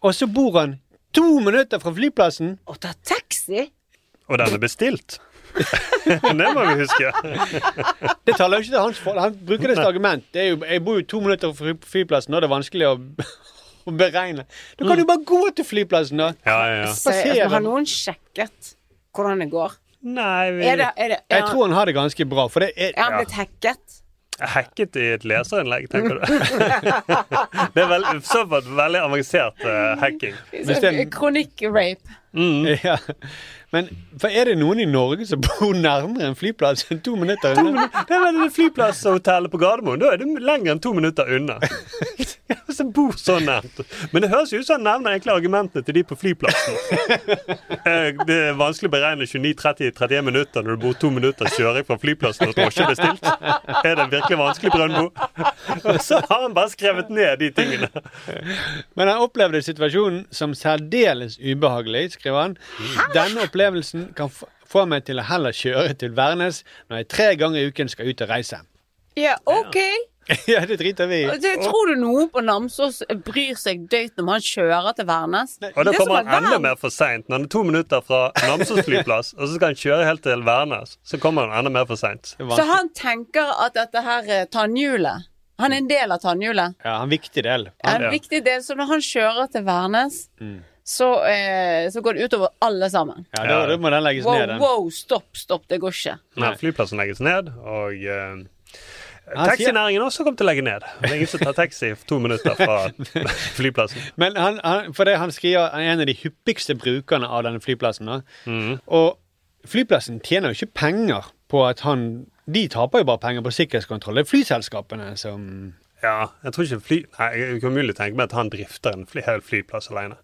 Og så bor han to minutter fra flyplassen.
Og tar taxi.
Og den er bestilt. det må vi huske.
Det taler jo ikke til hans forhold. Han bruker det som argument. Det er jo, jeg bor jo to minutter fra fly- flyplassen, og det er vanskelig å, å beregne. Da kan du bare gå til flyplassen, da.
Så, altså,
Passere.
har noen sjekket hvordan det går?
Nei,
vi... er det, er det,
Mm.
er
Jeg tror han har det ganske bra, for det er
Er han blitt hacket?
Hacket i et leserinnlegg, tenker du. det er vel, så på et veldig avansert eh, hacking.
Kronikk-rape.
Ja. Men for er det noen i Norge som bor nærmere en flyplass enn to minutter?
To
unna?
minutter. Det er vel flyplasshotellet på Gardermoen. Da er det lenger enn to minutter unna. Hvis jeg bor så nært. Men det høres jo ut som han nevner egentlig argumentene til de på flyplassen. Eh, Det er vanskelig å beregne 29-30-31 minutter når du bor to minutter kjøring fra flyplassen og drosje er bestilt. Er det virkelig vanskelig, Brøndbo? Og så har han bare skrevet ned de tingene.
Men han opplevde situasjonen som særdeles ubehagelig, skriver han. Denne opplevelsen kan f- få meg til å heller kjøre til Værnes når jeg tre ganger i uken skal ut og reise.
Ja, OK.
ja, det driter vi i.
Altså, jeg tror du noen på Namsos bryr seg døyt om han kjører til Værnes?
Og da
Det er som
kommer
at
han enda mer for seint. Når han er to minutter fra Namsos flyplass, og så skal han kjøre helt til Værnes, så kommer han enda mer for seint.
Så han tenker at dette her er tannhjulet. Han er en del av tannhjulet.
Ja, han er en viktig del.
En viktig del, Så når han kjører til Værnes,
Mm.
så, eh, så går det utover alle sammen.
Ja, da, da må den legges
wow,
ned, den.
wow, stopp, stopp, det går ikke.
Nei, flyplassen legges ned, og eh,
Han sier-
taxinæringen også kommer til å legge ned. Det er ingen som tar taxi to minutter fra flyplassen.
Men han, han, for det han skriver, han er en av de hyppigste brukerne av denne flyplassen. Da. Og flyplassen tjener jo ikke penger på at han De taper jo bare penger på sikkerhetskontroll. Det er flyselskapene som
Ja, jeg tror ikke fly... Nei, jeg kan umulig tenke meg at han drifter en fly... hel flyplass alene.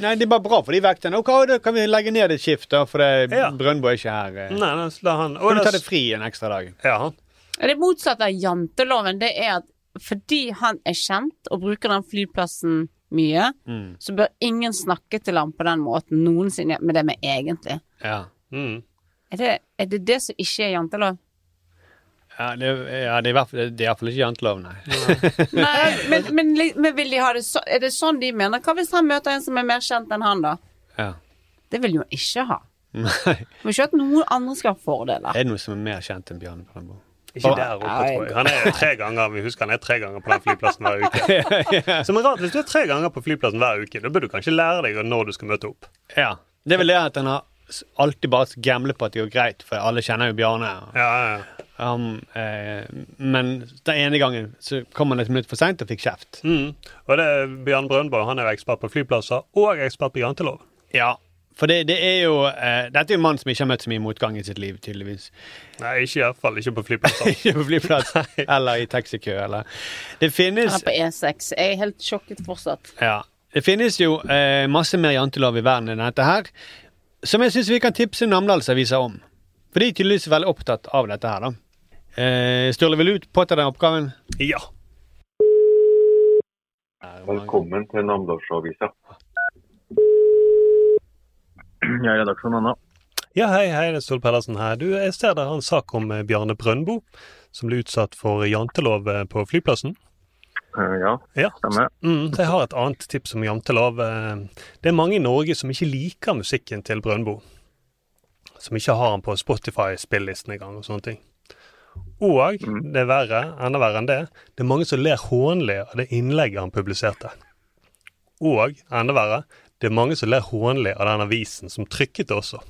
Nei, det er bare bra for de vektene. OK, da kan vi legge ned et skift, da, for det,
Ja.
Brøndbo er ikke her. eh.
Nei, nei, så la han...
Kan du
da-
ta det fri en ekstra dag?
Ja,
Det motsatte av janteloven, det er at fordi han er kjent og bruker den flyplassen mye,
Mm.
så bør ingen snakke til ham på den måten noensinne med det vi egentlig
Ja.
er det, er det det som ikke er jantelov?
Ja, det, ja, det er i hvert fall- det er iallfall ikke jantelov, nei.
Nei, men, men, li- men vil de ha det så, er det sånn de mener? Hva hvis han møter en som er mer kjent enn han, da?
Ja.
Det vil jo han ikke ha.
Nei.
Han Vil ikke at noen andre skal ha fordeler.
Er det noe som er mer kjent enn Bjarne Brøndbo?
Ikke der oppe, tror jeg. Han er tre ganger, vi husker han er tre ganger på den flyplassen hver uke. Som er rart, hvis du er tre ganger på flyplassen hver uke, da bør du kanskje lære deg når du skal møte opp.
Ja. Det er vel det at han har s- alltid bare gamblet på at det går greit, for alle kjenner jo Bjarne. Um, eh, men den ene gangen så kom han et minutt for seint og fikk kjeft.
Mm. Og det er Bjørn Brøndbo, han er jo ekspert på flyplasser, og ekspert på jantelov.
Ja, for det, det er jo eh, Dette er jo en mann som ikke har møtt så mye motgang i sitt liv, tydeligvis.
Nei, ikke i hvert fall ikke på flyplasser.
ikke på flyplass, eller i taxikø, eller Det
Han
finnes
er på E6. Jeg er helt sjokket fortsatt.
Ja. Det finnes jo eh, masse mer jantelov i verden enn dette her, som jeg syns vi kan tipse Namdalsavisa om. For de er tydeligvis veldig opptatt av dette her, da. Eh, Sturle, vil du påta deg oppgaven?
Ja.
Velkommen til Namdalsavisa. Jeg er redaksjon Anna.
Ja, hei, hei, det er Ståle Pedersen her. Du, jeg ser dere har en sak om eh, Bjarne Brøndbo, som ble utsatt for jantelov eh, på flyplassen.
Eh, Ja,
Ja.
stemmer.
Mm, så jeg har et annet tips om jantelov. Eh, Det er mange i Norge som ikke liker musikken til Brøndbo. Som ikke har han på Spotify-spillelisten engang og sånne ting. Og
Mm.
det er verre, enda verre enn det, det er mange som ler hånlig av det innlegget han publiserte. Og enda verre, det er mange som ler hånlig av den avisen som trykket det også.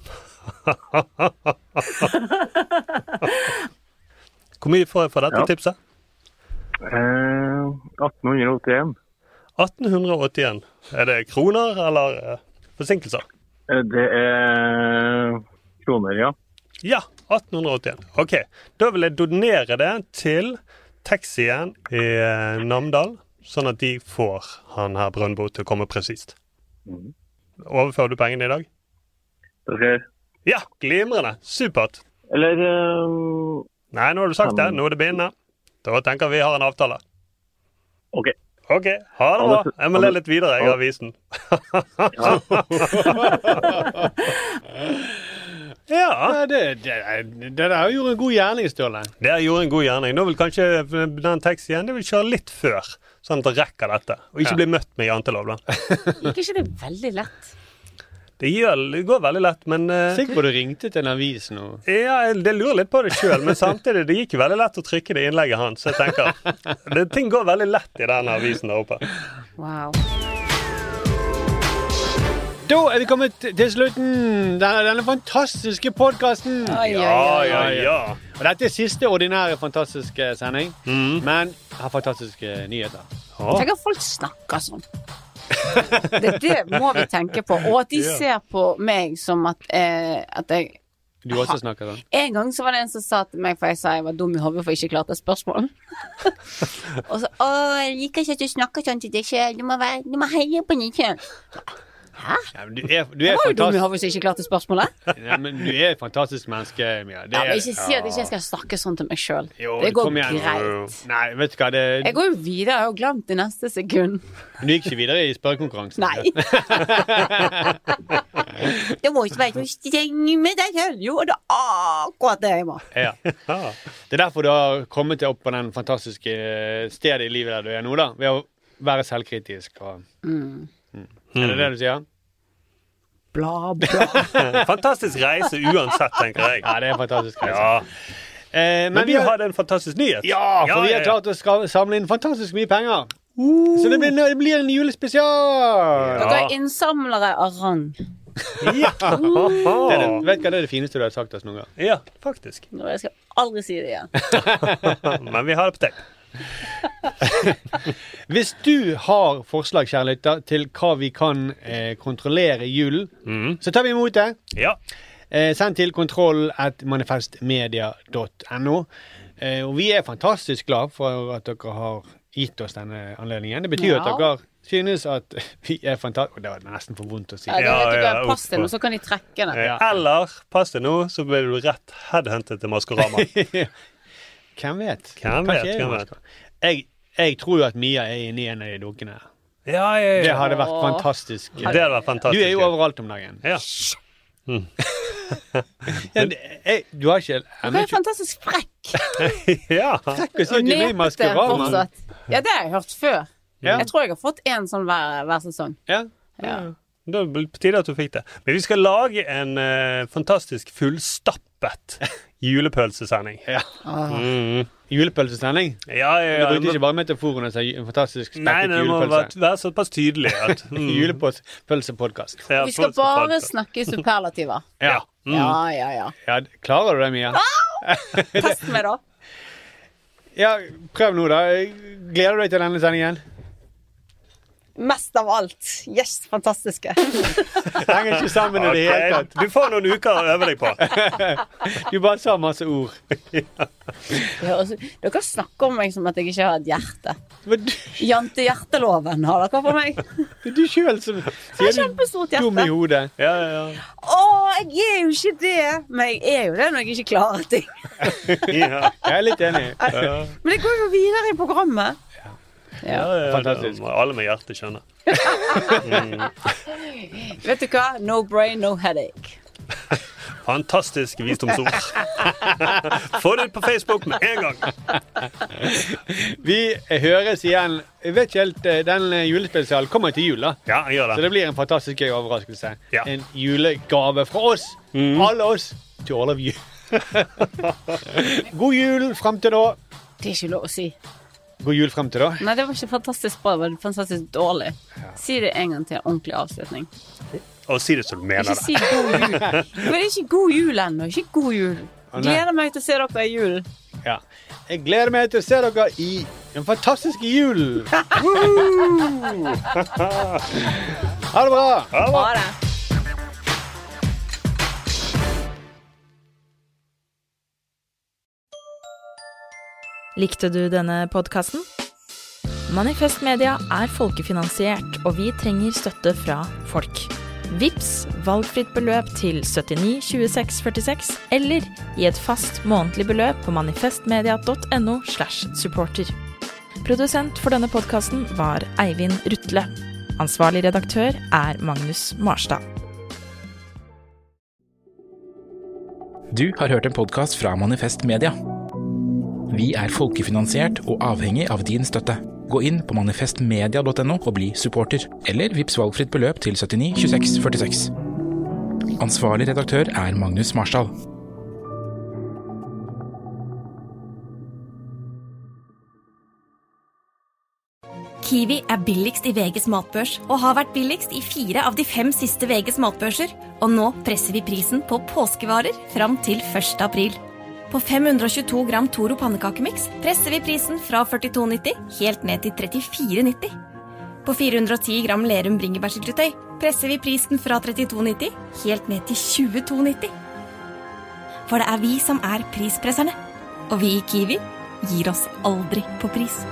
Hvor mye får jeg for dette
Ja.
tipset?
Eh, 1881.
1881. Er det kroner eller eh, forsinkelser?
Eh, Det er kroner, ja.
Ja, 1881. Ok, da vil jeg donere det til taxien i eh, Namdal, sånn at de får han her Brøndbo til å komme presist.
Mhm.
Overfører du pengene i dag?
Det skjer.
Ja, glimrende. Supert.
Eller eh,
Nei, nå har du sagt det.
kan-
Nå er det bindende. Da tenker vi har en avtale.
OK.
OK. Ha det
Ha
bra.
det-
Jeg må
ha
le
det-
litt videre, jeg, i
ha-
avisen.
Ja, det, det, det der gjorde en god gjerning, Ståle.
Dere gjorde en god gjerning. Nå vil kanskje eh, den taxien de vil kjøre litt før, sånn at det rekker dette. Og ikke
Ja.
bli møtt med jantelov. da.
Gikk ikke det veldig lett?
Det, gjør, det går veldig lett, men eh,
Sikker på du ringte til en avis nå?
ja, det lurer litt på det sjøl, men samtidig, det gikk veldig lett å trykke det innlegget hans. så Jeg tenker, det, Ting går veldig lett i den avisen der oppe.
Wow.
Da er vi kommet til slutten. Denne, denne fantastiske podkasten.
oi, oi, oi.
Ja, ja, ja.
Og dette er siste ordinære fantastiske sending, men har fantastiske nyheter.
Tenk at folk snakker sånn. Det, det må vi tenke på. Og at de
Ja.
ser på meg som at, eh, at jeg
Du også snakker sånn.
En gang så var det en som sa til meg, for jeg sa jeg var dum i hodet for jeg ikke klarte spørsmål. og så 'Å, jeg liker ikke at du snakker sånn til deg sjøl, du, må være- du må heie på deg sjøl'.
Ja, men du er, du
Jeg
er
var jo dum i
fantastisk.
hodet som ikke klarte spørsmålet.
Ja, men du er et fantastisk menneske, Mia. Det
Ja,
er-
men ikke si at jeg ikke skal snakke sånn til meg sjøl.
Jo,
Det går
kom igjen.
greit.
Nei, vet du hva, det
Jeg går jo videre, jeg har jo glemt det neste sekund.
Men Du gikk ikke videre i spørrekonkurransen?
Nei. Det må ikke være så streng med deg sjøl. Jo, det er akkurat det jeg må.
Ja. Det er derfor du har kommet deg opp på den fantastiske eh, stedet i livet der du er nå, da. Ved å være selvkritisk. Og...
Mm.
Er det det du sier?
Bla, bla.
Fantastisk reise uansett, tenker jeg.
Ja, det er en fantastisk reise.
Ja.
Eh,
Men vi hadde en fantastisk nyhet.
Ja, for
Ja,
vi
ja,
har
ja.
klart å ska- samle inn fantastisk mye penger.
Uh.
Så det blir, det blir en julespesial!
Dere er innsamlere av rang.
Det er det, vet du hva, det er det fineste du har sagt oss noen gang.
Ja, faktisk.
Nå, Jeg skal aldri si det igjen.
Men vi har det på tape.
Hvis du har forslag, kjære lytter, til hva vi kan eh, kontrollere i julen,
Mm.
så tar vi imot det.
Ja.
Eh, send til kontroll at manifestmedia.no. Eh, og vi er fantastisk glad for at dere har gitt oss denne anledningen. Det betyr
Ja.
at dere synes at vi er fantastiske Og det var nesten for vondt å si.
Ja, det vet dere, pass deg nå, så kan de trekke det.
Eh, Eller pass deg nå, så blir du rett headhuntet til Maskorama.
Hvem vet?
Hvem
Kanskje
vet,
jeg er
hvem
en
vet.
maskot. Jeg, jeg tror jo at Mia er inni en av de dukkene. her.
Ja, ja, ja.
Det hadde vært
Åh.
fantastisk.
Det hadde vært fantastisk,
Du er jo
ja.
overalt om dagen.
Ja.
Ja, det- jeg, du har ikke
Du er fantastisk frekk
Ja.
Frekk å si at
og
du er i
nepete
Maskorama.
fortsatt. Ja, det har jeg hørt før.
Ja.
Jeg tror jeg har fått én sånn hver, hver sesong.
Ja.
Ja.
Det er det på tide at du fikk det. Men vi skal lage en eh, fantastisk fullstappet julepølsesending.
Ja.
Ah.
Mm.
Julepølsesending?
Ja, ja, ja.
Du brukte
må-
ikke bare metaforen og sa ju- en fantastisk
Nei,
spekket
det må
julepølse.
være, være såpass tydelig at mm,
Julepølsepodkast.
Ja,
Vi skal bare snakke i superlativer.
Ja.
Ja, ja, ja.
Ja, Klarer du det, Mia?
Test meg, da.
Ja, prøv nå, da. Gleder du deg til denne sendingen?
Mest av alt. Yes, fantastiske.
Henger ikke sammen i det hele
Ok,
tatt.
Du får noen uker å øve deg på.
Du bare sa masse ord.
Det høres- Dere snakker om meg som at jeg ikke har et hjerte.
Men du-
Jantehjerteloven har dere for meg.
Du sjøl som
Jeg har kjempestort
dum i
hjerte.
hodet.
Ja, ja,
Å, jeg er jo ikke det! Men jeg er jo det når jeg ikke klarer ting.
ja.
Jeg er litt enig.
Ja.
Men det går jo videre i programmet.
Ja, ja,
Fantastisk.
det må Alle med hjerte skjønner.
Vet du hva? No brain, no headache.
Fantastisk visdomsord. Få det ut på Facebook med en gang.
Vi høres igjen. Jeg vet ikke helt, eh, Den eh, julespesialen kommer til jul, da.
Ja, gjør det.
Så det blir en fantastisk gøy overraskelse.
Ja.
En julegave fra oss. Alle oss. To all of you. God jul frem til da.
Det er ikke lov å si.
God jul frem til da.
Nei, det var ikke fantastisk bra, det var fantastisk dårlig. Si det en gang til, ordentlig avslutning.
Og si det som du mener
Ikke si god jul. Men det er ikke god jul ennå. Ikke god jul.
Å, nei.
Gleder meg til å se dere i julen.
Ja. Jeg gleder meg til å se dere i den fantastiske julen. Woohoo! ha det bra.
Ha det.
Likte du denne podkasten? Manifest Media er folkefinansiert, og vi trenger støtte fra folk. Vips valgfritt beløp til 79 26 46, eller i et fast månedlig beløp på manifestmedia.no. slash supporter. Produsent for denne podkasten var Eivind Rutle. Ansvarlig redaktør er Magnus Marstad.
Du har hørt en podkast fra Manifest Media. Vi er folkefinansiert og avhengig av din støtte. Gå inn på manifestmedia.no og bli supporter, eller vips valgfritt beløp til 79 26 46. Ansvarlig redaktør er Magnus Marsdal.
Kiwi er billigst i VGs matbørs og har vært billigst i fire av de fem siste VGs matbørser. Og nå presser vi prisen på påskevarer fram til 1. april. På 522 gram Toro pannekakemiks presser vi prisen fra 42,90 helt ned til 34,90. På 410 gram Lerum bringebærsyltetøy presser vi prisen fra 32,90 helt ned til 22,90. For det er vi som er prispresserne. Og vi i Kiwi gir oss aldri på pris.